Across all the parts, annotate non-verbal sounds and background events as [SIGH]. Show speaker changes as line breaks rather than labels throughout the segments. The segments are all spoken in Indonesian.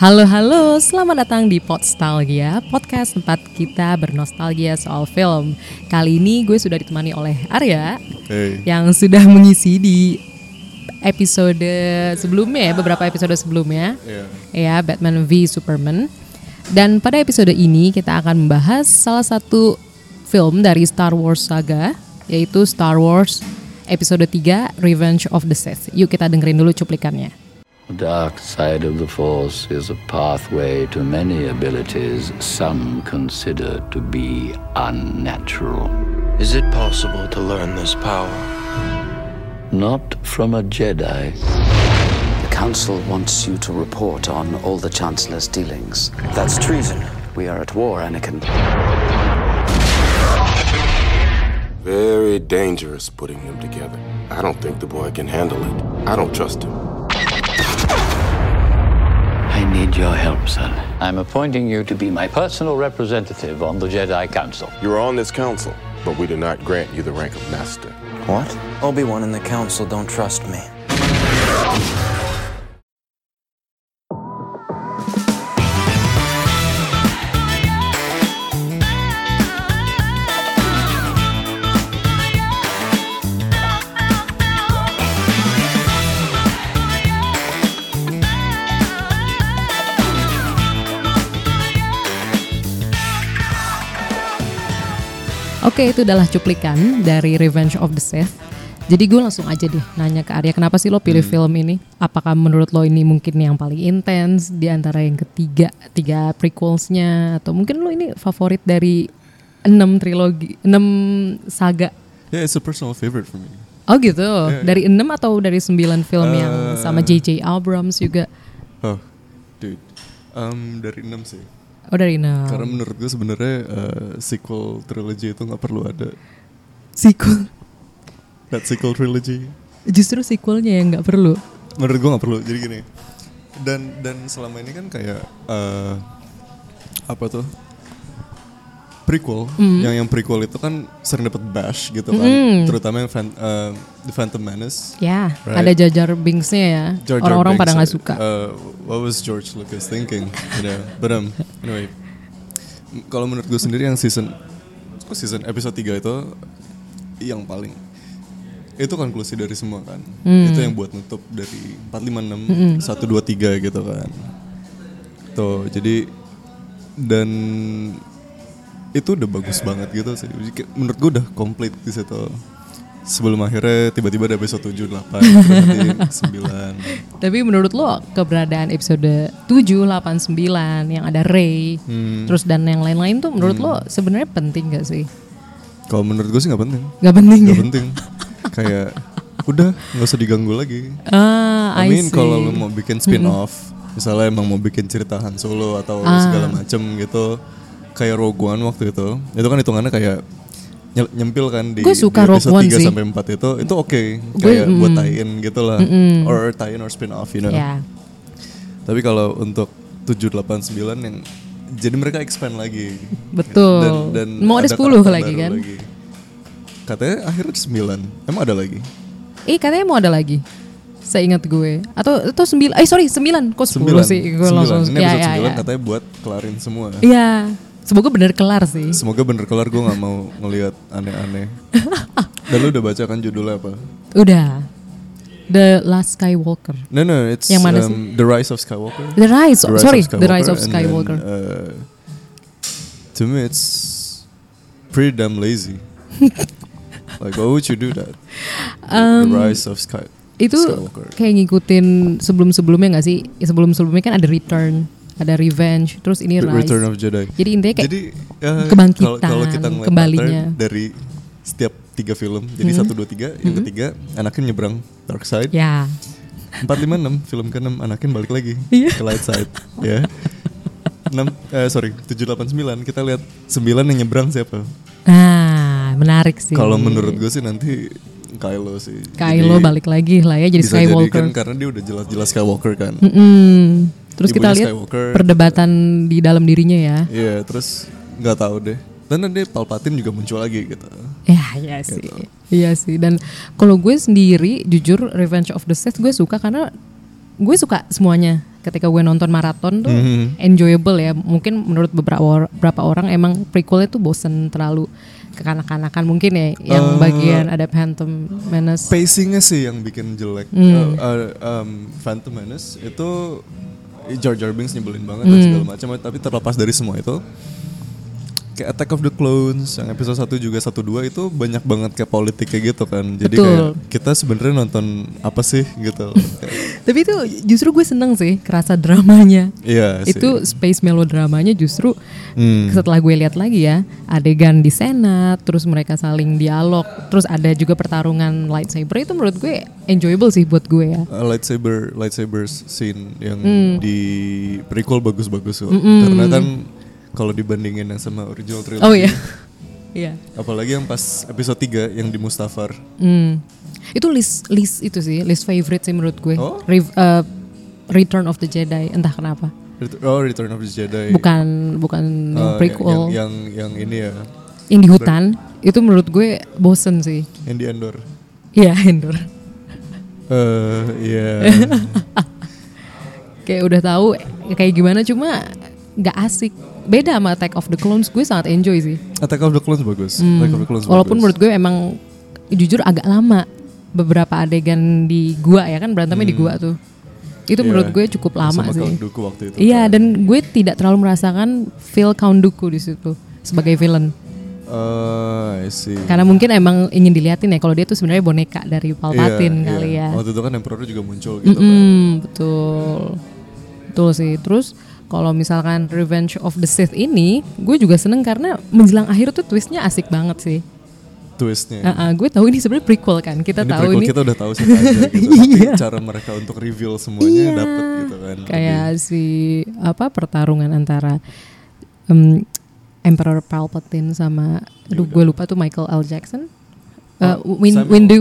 Halo halo, selamat datang di Podstalgia, podcast tempat kita bernostalgia soal film. Kali ini gue sudah ditemani oleh Arya
Hey.
yang sudah mengisi di episode sebelumnya ya, beberapa episode sebelumnya.
Iya.
Ya, Batman v Superman. Dan pada episode ini kita akan membahas salah satu film dari Star Wars saga yaitu Star Wars episode 3 Revenge of the Sith. Yuk kita dengerin dulu cuplikannya.
The dark side of the Force is a pathway to many abilities some consider to be unnatural.
Is it possible to learn this power?
Not from a Jedi.
The Council wants you to report on all the Chancellor's dealings.
That's treason.
We are at war, Anakin.
Very dangerous putting them together. I don't think the boy can handle it. I don't trust him.
I need your help, son. I'm appointing you to be my personal representative on the Jedi Council.
You're on this council, but we do not grant you the rank of master.
What? Obi-Wan and the Council don't trust me.
Oke, itu adalah cuplikan dari Revenge of the Sith. Jadi gue langsung aja deh nanya ke Arya, kenapa sih lo pilih
Hmm.
film ini? Apakah menurut lo ini mungkin yang paling intens di antara yang ketiga, tiga prequelsnya? Atau mungkin lo ini favorit dari enam trilogi, enam saga?
Yeah, it's a personal favorite for me.
Oh gitu,
Eh, iya.
dari enam atau dari sembilan film yang sama J.J. Abrams juga?
Oh, dude. Um, dari 6 sih.
Oh dari enam.
Karena menurut gue sebenarnya uh, sequel trilogy itu nggak perlu ada.
Sequel,
That sequel trilogy.
justru sequelnya yang nggak perlu.
Menurut gue nggak perlu. Jadi gini. Dan dan selama ini kan kayak uh, apa tuh? prequel yang yang prequel itu kan sering dapat bash gitu kan terutama yang fan- uh, The Phantom Menace
Ya,
Right.
ada Jajar Binksnya ya.
Jar Jar
Orang-orang
Binks,
pada nggak
uh,
suka.
uh, what was George Lucas thinking? You know, but um, anyway, m- kalau menurut gue sendiri yang season oh, season episode 3 itu yang paling itu konklusi dari semua kan.
Hmm.
Itu yang buat nutup dari 456 123 gitu kan. Tuh, jadi dan itu udah bagus banget gitu sih. Jadi kayak Menurut gue udah komplit di situ. Sebelum akhirnya tiba-tiba ada episode 7, 8,
[LAUGHS]
nanti 9.
Tapi menurut lo keberadaan episode 7, 8, 9 yang ada Ray
Hmm.
terus dan yang lain-lain tuh menurut lo sebenarnya penting gak sih?
Kalau menurut gue sih nggak penting,
Gak penting ya?
nggak penting. Kayak udah nggak usah diganggu lagi.
[LAUGHS] Ah, I,
I mean
see.
kalau lu mau bikin spin off, misalnya emang mau bikin cerita Han Solo atau
Ah.
segala macem gitu, kayak Rogue One waktu itu, itu kan hitungannya kayak nyel- nyempil kan di,
Gua suka
di
Rogue One
episode 3
sih.
sampai 4 itu, itu oke
Gua-
kayak buat tie-in gitu lah, or tie-in or spin off, you know.
Ya.
Tapi kalau untuk 789 yang jadi mereka expand lagi.
Betul. Mau ada 10
karakter
lagi
baru
kan?
Katanya akhirnya 9. Emang ada lagi?
Eh katanya mau ada lagi. Saya ingat gue. Atau itu 9. Eh sorry, 9 kok 10
9.
sih? Gue langsung
Ini
ya
episode
ya.
9
ya.
katanya buat kelarin semua.
Iya. Semoga bener kelar sih.
Semoga bener kelar gue gak mau ngelihat aneh-aneh. Dan lu udah baca kan judulnya apa?
Udah. The Last Skywalker.
No no, it's
Yang mana
um,
sih?
The Rise of Skywalker.
The Rise,
The Rise
sorry,
of
The Rise of
and then,
Skywalker.
uh, to me, it's pretty damn
[LAUGHS]
lazy. like, why would you do that? The- the Rise of Sky.
Um, itu
Skywalker.
kayak ngikutin sebelum-sebelumnya nggak sih? Ya, sebelum-sebelumnya kan ada Return, ada Revenge, terus ini
The
Rise.
Return of Jedi.
Jadi intinya kayak
Jadi uh,
kebangkitan,
kalau- kalau kita ngeliat
kembalinya. Mm-hmm.
pattern dari setiap tiga film, jadi satu dua tiga, yang ketiga Anakin nyebrang dark side,
ya.
empat lima enam film keenam Anakin balik lagi
Iya.
ke light side,
[LAUGHS]
ya. Enam, eh, sorry, tujuh delapan sembilan kita lihat sembilan yang nyebrang siapa?
Nah, menarik sih.
Kalau menurut gue sih nanti Kylo sih.
Kylo
Jadi,
balik lagi lah ya jadi
bisa kan
Skywalker.
jadikan karena dia udah jelas-jelas Skywalker kan.
Hmm, terus kita
Ibunya
lihat
Skywalker.
perdebatan di dalam dirinya ya.
Iya, terus nggak tahu deh. Dan nanti Palpatine juga muncul lagi gitu.
[LAUGHS] Ya, ya sih. Iya sih. Dan kalau gue sendiri jujur Revenge of the Sith gue suka karena gue suka semuanya. ketika gue nonton maraton tuh enjoyable ya. Mungkin menurut beberapa or- beberapa orang emang prequelnya tuh bosen terlalu kekanak-kanakan mungkin ya yang bagian ada Phantom Menace.
Pacingnya sih yang bikin jelek.
Mm.
Uh, uh, um, Phantom Menace itu George R. Binks nyebelin banget
Mm.
dan segala macam. Tapi terlepas dari semua itu, kayak Attack of the Clones yang episode 1 juga 1 2 itu banyak banget kayak politiknya gitu kan. Jadi
Betul.
kayak kita sebenarnya nonton apa sih
[LAUGHS]
gitu. Kayak,
Tapi itu justru gue seneng sih kerasa dramanya.
Iya sih. Hmm.
Itu space melodramanya justru setelah gue lihat lagi ya adegan di senat, terus mereka saling dialog, terus ada juga pertarungan lightsaber itu menurut gue enjoyable sih buat gue ya.
Uh, lightsaber lightsaber scene yang
Hmm.
di prequel bagus-bagus kok. Karena kan kalau dibandingin yang sama original trilogy.
Oh iya. [LAUGHS] Iya.
Apalagi yang pas episode 3 yang di Mustafar.
Hmm. Itu list list itu sih, list favorite sih menurut gue.
Oh?
Rev- eh, Return of the Jedi entah kenapa.
Ret- Oh, Return of the Jedi.
Bukan bukan
Uh,
yang
yang-
prequel.
Yang, yang yang ini ya,
yang di hutan itu menurut gue bosen sih.
yang di Endor.
Iya, [LAUGHS] Endor.
Eh,
[LAUGHS]
iya.
kayak udah tahu kayak gimana cuma nggak asik beda sama Attack of the Clones gue sangat enjoy sih
Attack of the Clones bagus. Attack of the Clones
Hmm. walaupun
bagus.
menurut gue emang jujur agak lama beberapa adegan di gua ya kan berantemnya di gua tuh itu
Hmm. Iya.
menurut gue cukup lama
sama Count
sih
Dooku waktu itu.
iya dan gue tidak terlalu merasakan feel Count Dooku di situ sebagai villain
Eh, I see.
karena mungkin emang ingin diliatin ya kalau dia tuh sebenarnya boneka dari
Iya,
Palpatine
iya.
kali ya
Waktu itu kan Emperor juga muncul gitu kan.
Hmm, betul. Betul sih. Terus kalau misalkan Revenge of the Sith ini, gue juga seneng karena menjelang akhir tuh twistnya asik banget sih.
Twistnya.
Ah, ah, gue tahu ini sebenarnya prequel kan. Kita
Iya. ini
tahu
prequel
ini
kita udah tahu sih
[LAUGHS]
aja gitu. Tapi cara mereka untuk reveal semuanya
Iya.
dapet gitu kan.
kayak si apa pertarungan antara em, Emperor Palpatine sama,
Iya,
aduh gue lupa tuh Michael L Jackson, Eh, Win,
Samuel.
Windu,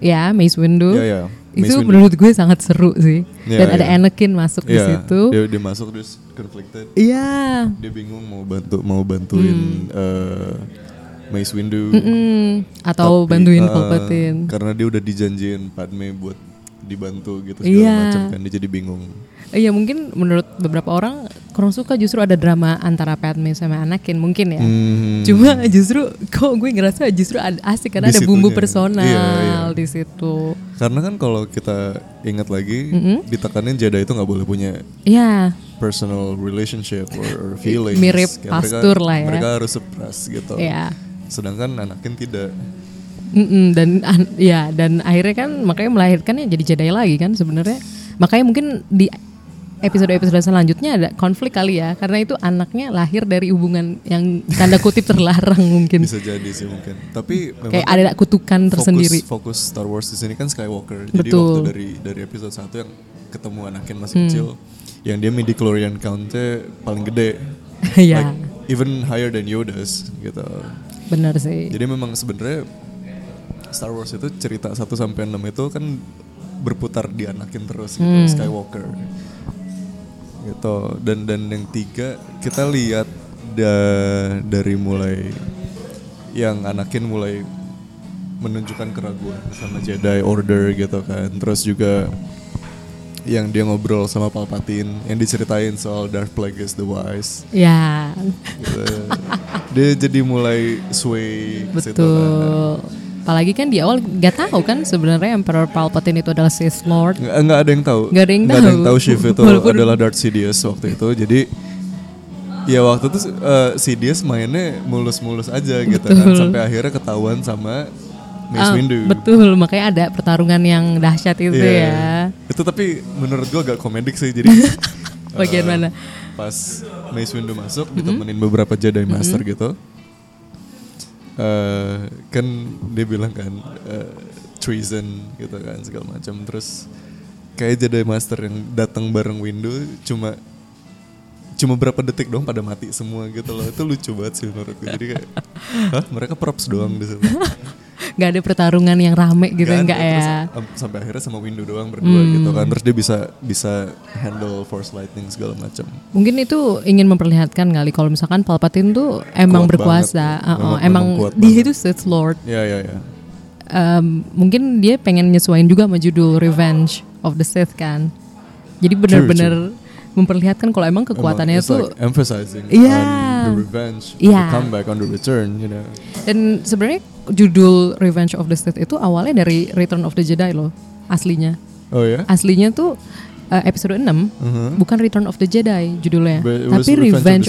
ya Mace Windu.
Oh, Iya, iya. Mace
Itu
Windu.
menurut gue sangat seru sih. Dan
Iya,
ada
iya.
Anakin masuk di
Iya,
situ.
Dia, dia masuk terus conflicted.
Iya.
Dia bingung mau bantu mau bantuin eh, Mace Windu.
Hmm, atau
Tapi,
bantuin
eh,
Palpatine.
Karena dia udah dijanjiin Padme buat dibantu gitu segala
Iya.
macam kan dia jadi bingung.
Iya mungkin menurut beberapa orang kurang suka justru ada drama antara Padme sama Anakin mungkin ya.
Hmm.
Cuma justru kok gue ngerasa justru ad- asik karena
Di
ada bumbu
situnya.
personal
Iya, iya.
di situ.
Karena kan kalau kita ingat lagi ditekanin Jedi itu nggak boleh punya
Iya,
personal relationship or, or feelings.
Mirip
Kayak mereka-
Pastur lah ya.
Mereka harus suppress gitu.
Iya.
Sedangkan Anakin tidak.
Mm-mm, dan an- ya dan akhirnya kan makanya melahirkannya jadi Jedi lagi kan sebenarnya. Makanya mungkin di episode-episode selanjutnya ada konflik kali ya karena itu anaknya lahir dari hubungan yang tanda kutip terlarang mungkin.
bisa jadi sih mungkin tapi memang
Kayak ada kutukan
fokus,
tersendiri.
fokus Star Wars di sini kan Skywalker jadi
Betul. Hmm.
waktu dari dari episode 1 yang ketemu Anakin masih kecil yang dia midi chlorian count-nya paling gede
[LAUGHS] Iya.
Like, even higher than Yoda's gitu
Benar sih.
jadi memang sebenarnya Star Wars itu cerita 1 sampai 6 itu kan berputar di Anakin terus gitu Skywalker gitu dan dan yang tiga kita lihat da- dari mulai yang Anakin mulai menunjukkan keraguan sama Jedi Order gitu kan terus juga yang dia ngobrol sama Palpatine yang diceritain soal Darth Plagueis the Wise
Ya,
gitu. dia jadi mulai sway ke situ kan.
betul. Apalagi kan di awal nggak tahu kan sebenarnya Emperor Palpatine itu adalah Sith Lord.
nggak nggak ada yang tahu
Nggak ada yang tahu.
Shiv itu
[LAUGHS] Walaupun-
adalah Darth Sidious waktu itu jadi ya waktu itu eh, Sidious mainnya mulus-mulus aja gitu kan
Betul.
sampai akhirnya ketahuan sama
Ah,
Mace Windu
betul, makanya ada pertarungan yang dahsyat itu
Iya.
ya.
itu tapi menurut gua agak komedik sih jadi
[LAUGHS] Bagian
eh,
mana?
pas Mace Windu masuk ditemenin beberapa
Mhm.
Jedi Master gitu eh kan dia bilang kan eh, treason gitu kan segala macam terus kayak Jedi Master yang datang bareng Windu cuma cuma berapa detik doang pada mati semua gitu loh itu lucu banget sih menurut gue jadi
[LAUGHS]
kayak hah mereka props doang di situ
Nggak ada pertarungan yang rame gitu
Gak ada.
enggak ya? Hmm.
Terus, um, sampai akhirnya sama Windu doang berdua gitu kan terus dia bisa bisa handle force lightning segala macam
Mungkin itu ingin memperlihatkan kali kalau misalkan Palpatine tuh emang
Kuat
berkuasa,
banget.
Uh-uh,
Memang-
emang,
memang kuat
dia
banget.
itu Sith Lord.
ya ya ya
Um, mungkin dia pengen nyesuaiin juga sama judul Revenge of the Sith kan. Jadi benar-benar memperlihatkan kalau emang kekuatannya
Emang, it's
tuh
like emphasizing
Iya.
on the revenge,
Iya.
the comeback, on the return, you know.
dan sebenarnya judul Revenge of the Sith itu awalnya dari Return of the Jedi loh aslinya.
Oh yeah.
Aslinya tuh uh, episode 6 bukan Return of the Jedi judulnya,
But Uh-huh. it was
tapi
Revenge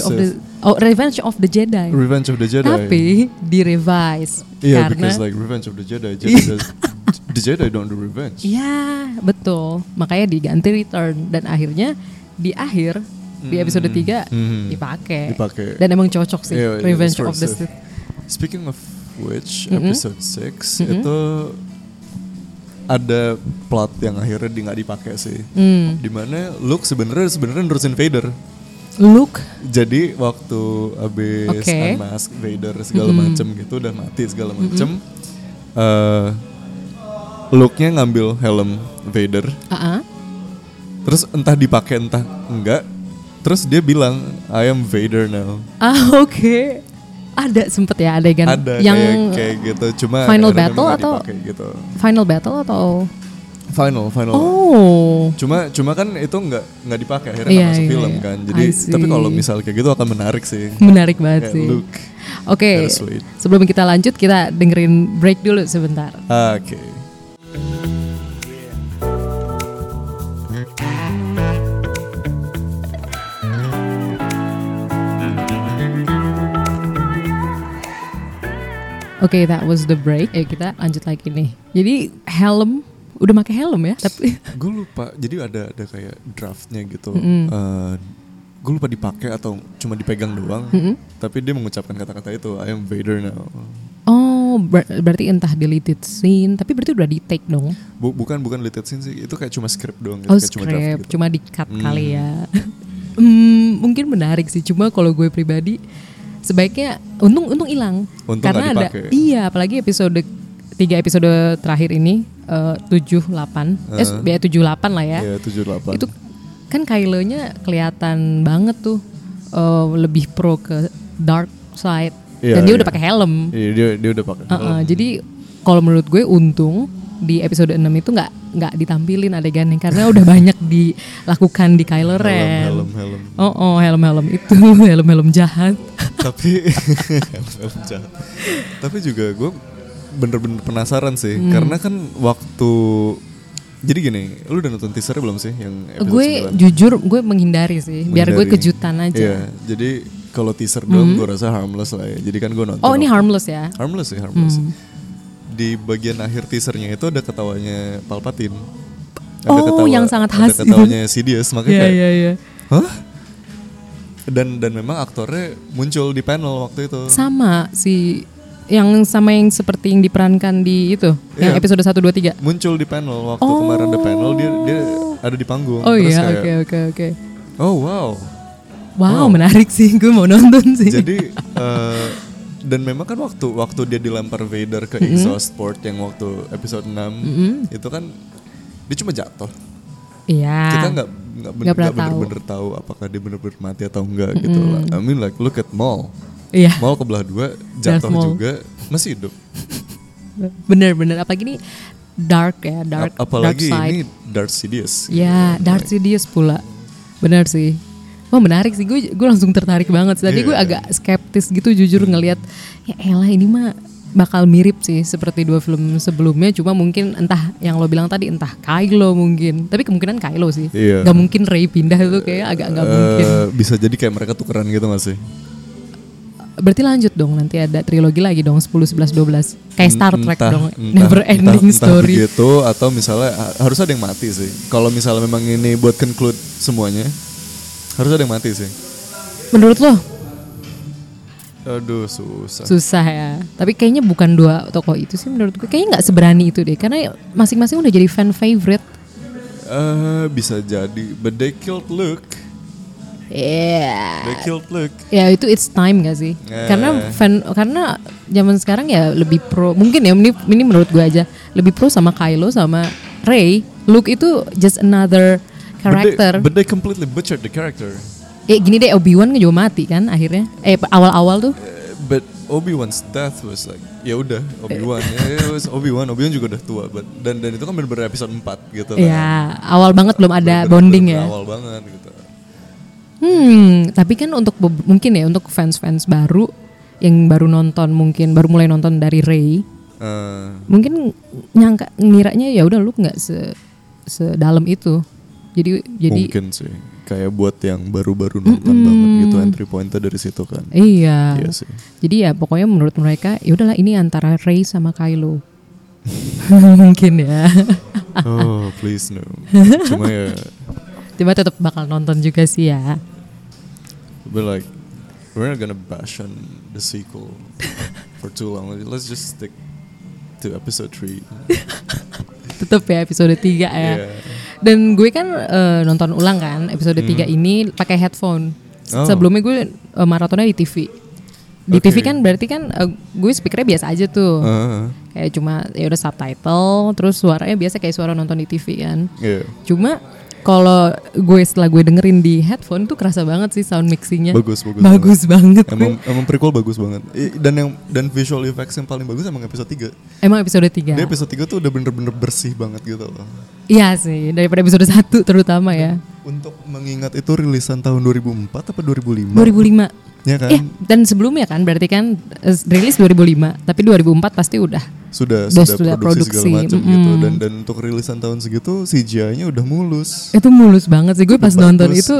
Revenge
of
of
the
the, oh Revenge of the Jedi.
Revenge of the Jedi.
Tapi di revise
yeah,
karena Iya.
because like Revenge of the Jedi, Jedi does, the Jedi don't do revenge.
Ya, betul. Makanya diganti return dan akhirnya di akhir di episode 3 dipakai.
Hmm. Dipakai.
Iya. Dan emang cocok sih
Iya, iya,
Revenge
it's
of the
worth it.
Sith.
Speaking of which, episode 6 itu ada plot yang akhirnya di nggak dipakai sih.
Mm.
Dimana Luke sebenarnya sebenarnya nerusin Vader.
Luke
Jadi waktu abis
Oke.
unmask Vader segala macem gitu udah mati segala macem. Eh Luke-nya ngambil helm Vader.
ah, ah.
Terus entah dipakai entah enggak. Terus dia bilang I am Vader now.
Ah, [LAUGHS] oke. Ada sempet ya adegan
Ada
yang
kayak kayak gitu. Cuma
final
akhirnya
battle
nggak
atau-
dipakai gitu.
final battle atau
Final, final.
Oh.
Cuma cuma kan itu nggak nggak dipakai akhirnya
Iya,
nggak masuk
iya,
film
iya.
kan. Jadi
I see. Hmm.
tapi kalau misal kayak gitu akan menarik sih.
Menarik banget
Kayak
sih.
Luke.
Oke,
Harus wait.
sebelum kita lanjut kita dengerin break dulu sebentar.
Ah, Oke.
Oke, that was the break. Eh kita lanjut lagi nih. Jadi helm udah pakai helm ya, tapi
Gue lupa. Jadi ada ada kayak draftnya gitu. gue lupa dipakai atau cuma dipegang doang. Tapi dia mengucapkan kata-kata itu I am Vader now.
Oh, ber- berarti entah deleted scene, tapi berarti udah di take dong.
Bu- bukan bukan deleted scene sih. Itu kayak cuma script doang. Gitu.
Oh,
kayak Cuma draft
script,
gitu.
cuma di cut kali ya. [LAUGHS] Hmm, mungkin menarik sih, cuma kalau gue pribadi sebaiknya untung untung hilang.
Untung
Karena ada
nggak dipakai.
iya, apalagi episode tiga episode terakhir ini eh, 78. Eh, ya 78 lah ya.
Iya, 78.
Itu kan Kylo-nya kelihatan banget tuh eh, lebih pro ke dark side.
Iya,
Dan dia udah
iya.
pakai helm.
Iya, dia dia udah pakai.
Uh-uh, Jadi kalau menurut gue untung di episode 6 itu nggak nggak ditampilin adegannya karena udah banyak dilakukan di Kylo Ren.
Helm, helm, helm.
Oh, oh helm-helm itu [LAUGHS] helm-helm jahat.
tapi [LAUGHS] Elon jahat. tapi juga gue bener-bener penasaran sih
Mm.
karena kan waktu jadi gini lu udah nonton teasernya belum sih yang episode
gue
9?
jujur gue menghindari sih, biar gue
Menghindari.
kejutan aja. Hmm.
Iya, jadi kalau teaser doang gue rasa harmless lah ya jadi kan gue nonton
Oh ini
waktu-
harmless ya?
harmless sih harmless di bagian akhir teasernya itu ada ketawanya Palpatine
Oh, yang sangat khas itu. [LAUGHS]
ada ketawanya Sidious
Iya
makanya kayak,
iya iya.
hah dan dan memang aktornya muncul di panel waktu itu
Sama si yang sama yang seperti yang diperankan di itu, yang
Iya.
episode 1 2 3.
muncul di panel waktu kemarin ada panel dia dia ada di panggung
Oh
Terus
iya,
kayak,
oke oke oke.
oh wow
Wow, menarik sih. Gue mau nonton sih.
[LAUGHS] jadi eh, dan memang kan waktu waktu dia dilempar Vader ke
Mm-hmm.
exhaust port yang waktu episode 6 itu kan dia cuma jatuh
Iya.
kita nggak nggak ben-
Nggak pernah
nggak bener-bener tahu. apakah dia bener-bener mati atau enggak gitu lah
Mm-hmm.
I mean like look at Maul
Iya.
Maul kebelah dua jatuh
Maul.
juga masih hidup
Bener-bener apalagi ini dark ya, dark
Ap- apalagi
dark side.
ini Darth Sidious
Ya, dark Sidious pula. Bener sih. Wah menarik sih, gue gue langsung tertarik banget. Tadi gue
Iya.
agak skeptis gitu jujur ngelihat ya elah ini mah bakal mirip sih seperti dua film sebelumnya cuma mungkin entah yang lo bilang tadi entah Kylo mungkin tapi kemungkinan Kylo sih
Iya.
Gak mungkin Rey pindah itu kayak agak nggak mungkin
Eh, bisa jadi kayak mereka tukeran gitu gak sih
berarti lanjut dong nanti ada trilogi lagi dong 10 11 12 kayak Star Trek
Entah-
dong
entah-
never ending
entah-
story
entah begitu atau misalnya ha- harus ada yang mati sih kalau misalnya memang ini buat conclude semuanya harus ada yang mati sih
menurut lo
aduh susah
susah ya tapi kayaknya bukan dua tokoh itu sih menurut gue kayaknya nggak seberani itu deh karena masing-masing udah jadi fan favorite
Eh, bisa jadi but they killed Luke
Iya.
they killed Luke
ya itu it's time gak sih
Eh.
karena fan karena zaman sekarang ya lebih pro mungkin ya ini, ini menurut gue aja lebih pro sama Kylo sama Rey Luke itu just another
But they-
character
but they, completely butchered the character
eh gini deh Obi Wan juga mati kan akhirnya eh awal-awal tuh
Eh, but Obi-Wan's death was like ya udah Obi-Wan
Eh.
ya, it was Obi-Wan Obi-Wan juga udah tua but, dan dan itu kan bener-bener episode 4 gitu kan.
Ya, awal banget belum ada
Bener-bener-
bonding ya.
bener-bener awal banget gitu
Hmm, tapi kan untuk be- mungkin ya untuk fans-fans baru yang baru nonton mungkin baru mulai nonton dari Ray,
Eh,
mungkin nyangka ngiranya ya udah lu nggak se sedalam itu. Jadi jadi
mungkin sih kayak buat yang baru-baru nonton banget gitu entry pointnya dari situ
[LAUGHS]
kan
iya.
iya sih
Jadi ya pokoknya menurut mereka ya udahlah ini antara Ray sama
[LAUGHS]
Kylo. mungkin ya. [LAUGHS]
oh please no cuma ya
Coba tetap bakal nonton juga sih ya.
but like we're not gonna bash on the sequel for too long let's just stick to episode 3
[LAUGHS] Tetap ya episode 3 ya.
yeah
Dan gue kan eh, nonton ulang kan episode 3 ini pakai headphone. Se-
Hmm. Oh.
Sebelumnya gue eh, maratonnya di TV. Di
Oke.
TV kan berarti kan eh, gue speakernya biasa aja tuh.
uh,
Kayak cuma ya udah subtitle, terus suaranya biasa kayak suara nonton di TV kan.
yeah
Cuma kalau gue setelah gue dengerin di headphone tuh kerasa banget sih sound mixingnya.
Bagus, bagus
Bagus banget.
Emang, emang prequel bagus banget I- Dan yang dan visual effects yang paling bagus emang episode 3
Emang episode 3.
Dia episode 3 tuh udah bener-bener bersih banget gitu loh
Iya sih, daripada episode 1 terutama ya.
Untuk mengingat itu rilisan tahun 2004 apa 2005
2005.
Ya kan
Eh, dan sebelumnya kan berarti kan eh, rilis 2005, tapi 2004 pasti udah.
sudah,
Udah
sudah
sudah
produksi, segala
produksi,
macam gitu dan dan untuk rilisan tahun segitu CGI-nya udah mulus
Itu mulus banget sih gue Eh, pas
Bagus.
nonton itu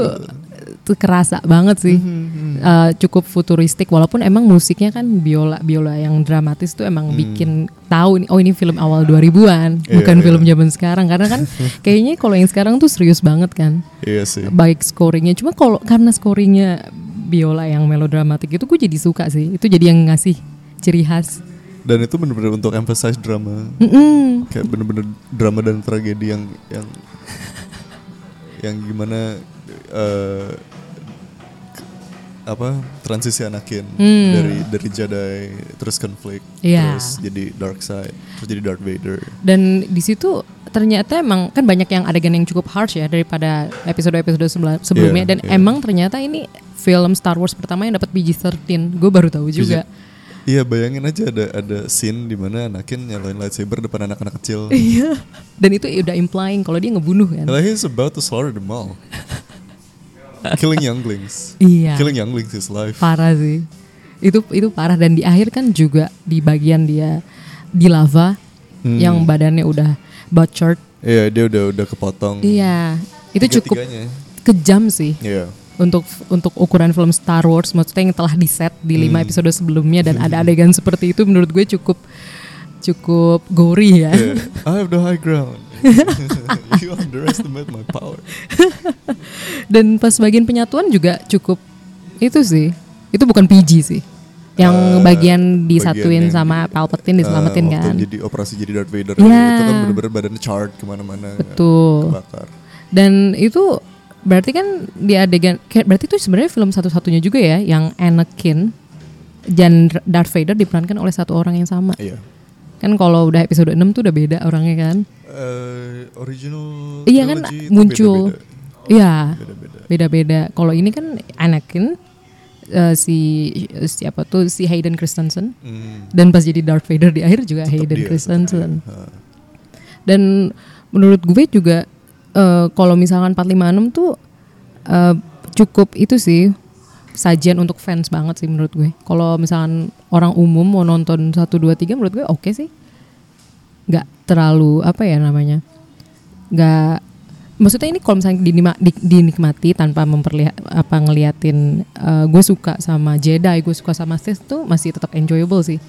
tuh kerasa banget sih.
Mhm,
Eh, cukup futuristik walaupun emang musiknya kan biola biola yang dramatis tuh emang bikin tahu ini oh ini film awal 2000-an,
Hmm. Iya,
bukan
iya.
film zaman sekarang karena
[LAUGHS]
kan kayaknya kalau yang sekarang tuh serius banget kan.
iya sih
baik scoringnya cuma kalau karena scoringnya biola yang melodramatik itu gue jadi suka sih itu jadi yang ngasih ciri khas Hmm.
dan itu bener-bener untuk emphasize drama
Mm-mm.
kayak bener-bener drama dan tragedi yang yang yang gimana eh, ke- apa transisi Anakin dari dari Jedi terus konflik
Hmm. Iya.
terus jadi dark side terus jadi Darth Vader
dan di situ ternyata emang kan banyak yang adegan yang cukup harsh ya daripada episode-episode sebela- sebelumnya
Iya,
dan
iya.
emang ternyata ini film Star Wars pertama yang dapat PG-13 gue baru tahu juga
Iya bayangin aja ada ada scene di mana Anakin nyalain lightsaber depan anak-anak
[LAUGHS]
kecil.
iya dan itu udah implying kalau dia ngebunuh kan
Like he's about to slaughter
[LAUGHS]
them all. Killing younglings.
Iya.
Killing younglings is life.
parah sih itu itu parah dan di akhir kan juga di bagian dia di lava
Hmm.
yang badannya udah butchered
Iya dia udah udah kepotong.
Iya, itu cukup
Tiga-tiganya. ya.
kejam sih
Iya.
untuk untuk ukuran film Star Wars maksudnya yang telah di set di lima
Hmm.
episode sebelumnya dan ada adegan seperti itu menurut gue cukup cukup gori ya. [LAUGHS]
Iya. I have the high ground. you underestimate my power.
Dan pas bagian penyatuan juga cukup itu sih. Itu bukan PG sih. Yang bagian disatuin
Eh, bagian yang
sama
di-
Palpatine diselamatin
Eh, waktu
kan.
Jadi operasi jadi Darth Vader.
Iya.
Itu kan bener-bener badannya charred kemana-mana. kan.
Betul.
Kebakar.
Dan itu berarti kan di adegan kayak- berarti itu sebenarnya film satu-satunya juga ya yang Anakin dan Darth Vader diperankan oleh satu orang yang sama.
Iya.
Kan kalau udah episode 6 tuh udah beda orangnya kan.
Eh, original.
Iya kan
trilogy itu
muncul.
beda-beda.
Iya.
Beda-beda.
Beda-beda. Kalau ini kan Anakin eh, si siapa tuh si Hayden Christensen. Dan pas jadi Darth Vader di akhir juga Hayden
Hmm. dia, tetap
Christensen.
Heeh.
Dan menurut gue juga eh, kalau misalkan 456 tuh eh, cukup itu sih sajian untuk fans banget sih menurut gue. Kalau misalkan orang umum mau nonton 1 2 3 menurut gue oke sih. nggak terlalu apa ya namanya? nggak maksudnya ini kalau misalnya dinima- di- dinikmati tanpa memperlihat apa ngeliatin eh, gue suka sama Jedi, gue suka sama Sith tuh masih tetap enjoyable sih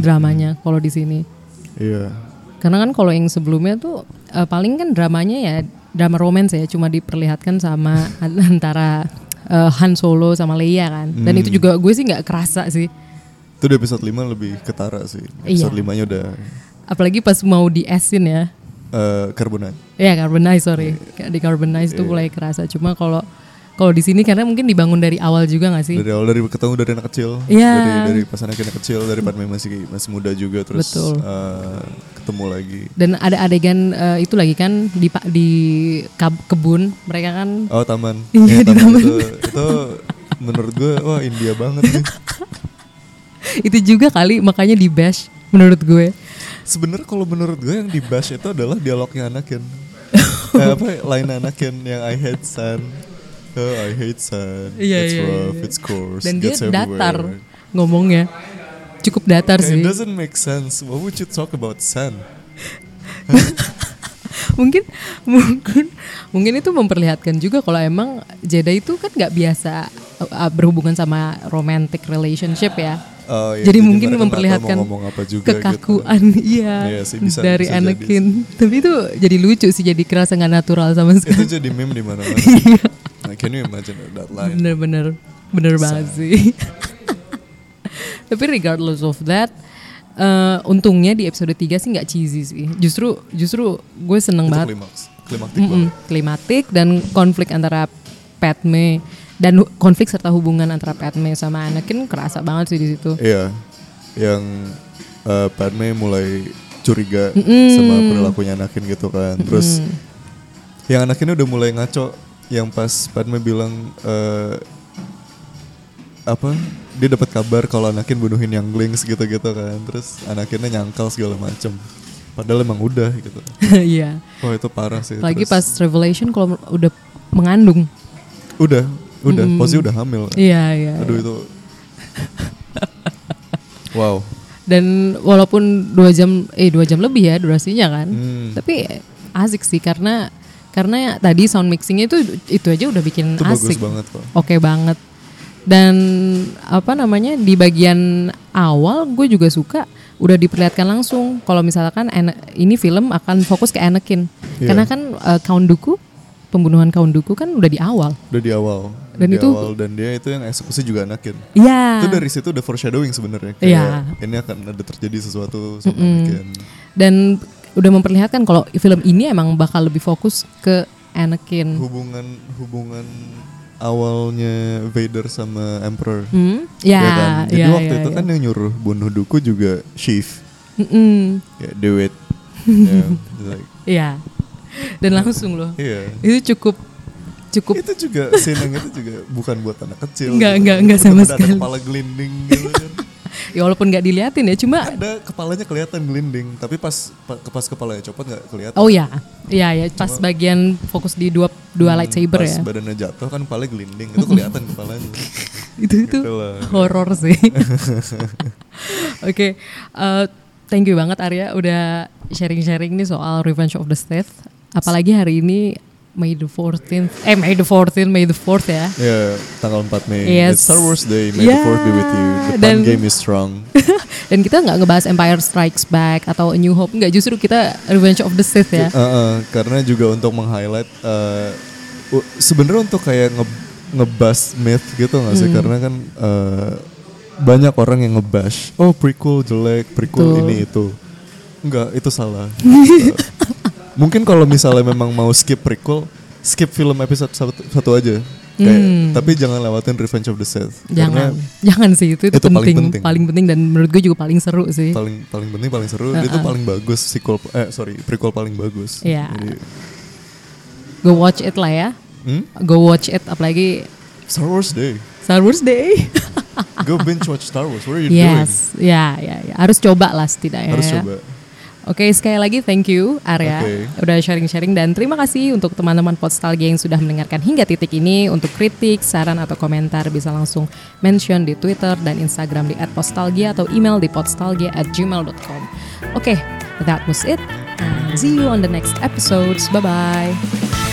dramanya kalau di sini.
Iya.
Karena kan kalau yang sebelumnya tuh eh, paling kan dramanya ya drama romance ya cuma diperlihatkan sama [LAUGHS] an- antara eh, Han Solo sama Leia kan. Dan itu juga gue sih nggak kerasa sih.
Itu di episode 5 lebih ketara sih. Episode
Iya.
5-nya udah
Apalagi pas mau di esin ya.
eh karbonat.
Ya carbonize sorry. Di carbonize tuh mulai kerasa. Cuma kalau kalau di sini karena mungkin dibangun dari awal juga nggak sih?
Dari awal dari ketemu dari anak kecil,
Iya.
dari dari pas anak anak kecil, dari pas masih masih muda juga terus
Betul.
eh, ketemu lagi.
Dan ada adegan eh, itu lagi kan di pa- di kab- kebun mereka kan
Oh taman,
Iya, di taman. [LAUGHS]
Itu, itu menurut gue wah India banget nih.
[LAUGHS] itu juga kali makanya di bash menurut gue.
Sebenarnya kalau menurut gue yang dibash itu adalah dialognya
[LAUGHS]
Anakin. eh, apa lain Anakin yang I hate sun. Oh, I hate sun.
Iya,
it's
iya,
rough,
iya.
it's coarse.
Dan dia
gets everywhere.
datar ngomongnya. Cukup datar
It
sih.
doesn't make sense. Why would you talk about sun?
[LAUGHS] mungkin mungkin mungkin itu memperlihatkan juga kalau emang Jedi itu kan nggak biasa uh, uh, berhubungan sama romantic relationship ya.
Oh, iya,
jadi,
jadi
mungkin
mereka nggak tahu
memperlihatkan
mau ngomong apa juga gitu.
kekakuan [LAUGHS] iya
Iya sih, bisa-
dari
bisa jadi
Anakin. Tapi itu jadi lucu sih jadi kerasa nggak natural sama
Itu
sekali.
jadi meme di
[LAUGHS]
mana-mana.
Iya.
Like, can you imagine that line?
Bener-bener bener banget sih. [LAUGHS] Tapi regardless of that eh, untungnya di episode 3 sih nggak cheesy sih. Justru justru gue seneng
Itu
banget
klimaks. Klimaktik
Mm-mm,
banget.
klimatik dan konflik antara Padme dan hu- konflik serta hubungan antara Padme sama Anakin kerasa banget sih di situ.
Iya. Yang eh, Padme mulai curiga sama perilakunya Anakin gitu kan. Terus yang Anakin udah mulai ngaco yang pas Padme bilang eh, apa dia dapat kabar kalau Anakin bunuhin yang Glings gitu-gitu kan. Terus Anakinnya nyangkal segala macem. Padahal emang udah gitu.
[LAUGHS] Iya.
Wah itu parah sih.
Lagi
Ya, Terus-
pas Revelation kalau udah mengandung.
udah, udah, posisi udah hamil. kan.
Iya, iya.
Aduh itu. wow.
Dan walaupun dua jam eh dua jam lebih ya durasinya kan.
Hmm.
Tapi asik sih karena karena tadi sound mixingnya itu itu aja udah bikin
Itu bagus
asik.
banget kok.
Oke banget. Dan apa namanya di bagian awal gue juga suka udah diperlihatkan langsung kalau misalkan Ana- ini film akan fokus ke Anakin.
Iya.
Karena kan eh, Count Dooku pembunuhan Count Dooku kan udah di awal.
Udah di awal. Udah
Dan
di
itu-
awal dan dia itu yang eksekusi juga Anakin.
Iya.
Itu dari situ udah foreshadowing sebenarnya. Kayak
Iya.
Ini akan ada terjadi sesuatu sama Anakin.
Dan udah memperlihatkan kalau film ini emang bakal lebih fokus ke Anakin.
Hubungan hubungan awalnya Vader sama Emperor.
Hmm? Ya,
ya kan? Jadi
ya,
waktu
ya,
itu
ya.
kan yang nyuruh bunuh Dooku juga Chief.
Mm-mm.
Ya,
[LAUGHS]
do it. ya, like,
Iya. Dan langsung loh.
iya.
Itu cukup cukup
itu juga
[LAUGHS]
scene yang itu juga bukan buat anak kecil
Enggak,
gitu.
enggak, enggak sama
Bener-bener
sekali.
ada kepala gelinding gitu kan
ya walaupun nggak diliatin ya cuma
ada kepalanya kelihatan gelinding tapi pas pa- pas kepalanya copot nggak kelihatan
Oh ya, ya ya pas bagian fokus di dua dua lightsaber
Hmm, pas
ya.
badannya jatuh kan kepalanya gelinding itu
[LAUGHS]
kelihatan kepalanya
Itu itu
Gitu lah.
horor sih. [LAUGHS] Oke, eh, thank you banget Arya udah sharing-sharing nih soal Revenge of the Sith. Apalagi hari ini May the 14th, eh May the 14th, May the 4th ya. [LAUGHS]
ya tanggal 4 Mei
Yes.
It's Star Wars Day May
Yeah,
the Fourth be with you the fun
dan-
game is strong
Dan kita nggak ngebahas Empire Strikes Back atau A New Hope, nggak justru kita Revenge of the Sith ya.
Eh, eh, karena juga untuk meng-highlight eh, u- sebenarnya untuk kayak nge ngebas myth gitu nggak
Hmm.
sih karena kan eh, banyak orang yang ngebash oh prequel jelek prequel
Betul.
ini itu enggak itu salah Eh,
[LAUGHS]
mungkin kalau misalnya memang mau skip prequel skip film episode satu, satu aja kayak tapi jangan lewatin Revenge of the Sith
Hmm. Jangan,
Iya, karena
jangan sih itu, itu,
itu paling
penting,
penting.
paling penting dan menurut gue juga paling seru sih.
paling paling penting paling seru dia tuh paling bagus sequel eh sorry prequel paling bagus
Iya.
Jadi,
Go watch it lah ya.
hmm?
Go watch it apalagi
Star Wars Day
Star Wars Day. [LAUGHS]
Go binge watch Star Wars. What are you
yes, ya, ya, ya. Harus coba lah setidaknya.
doing? Harus
ya.
coba.
Oke, sekali lagi thank you Arya
Oke.
udah sharing-sharing dan terima kasih untuk teman-teman Podstalgia yang sudah mendengarkan hingga titik ini. Untuk kritik, saran atau komentar bisa langsung mention di Twitter dan Instagram di @postalgia atau email di postalgia@gmail.com. Oke, that was it. And see you on the next episodes. Bye bye.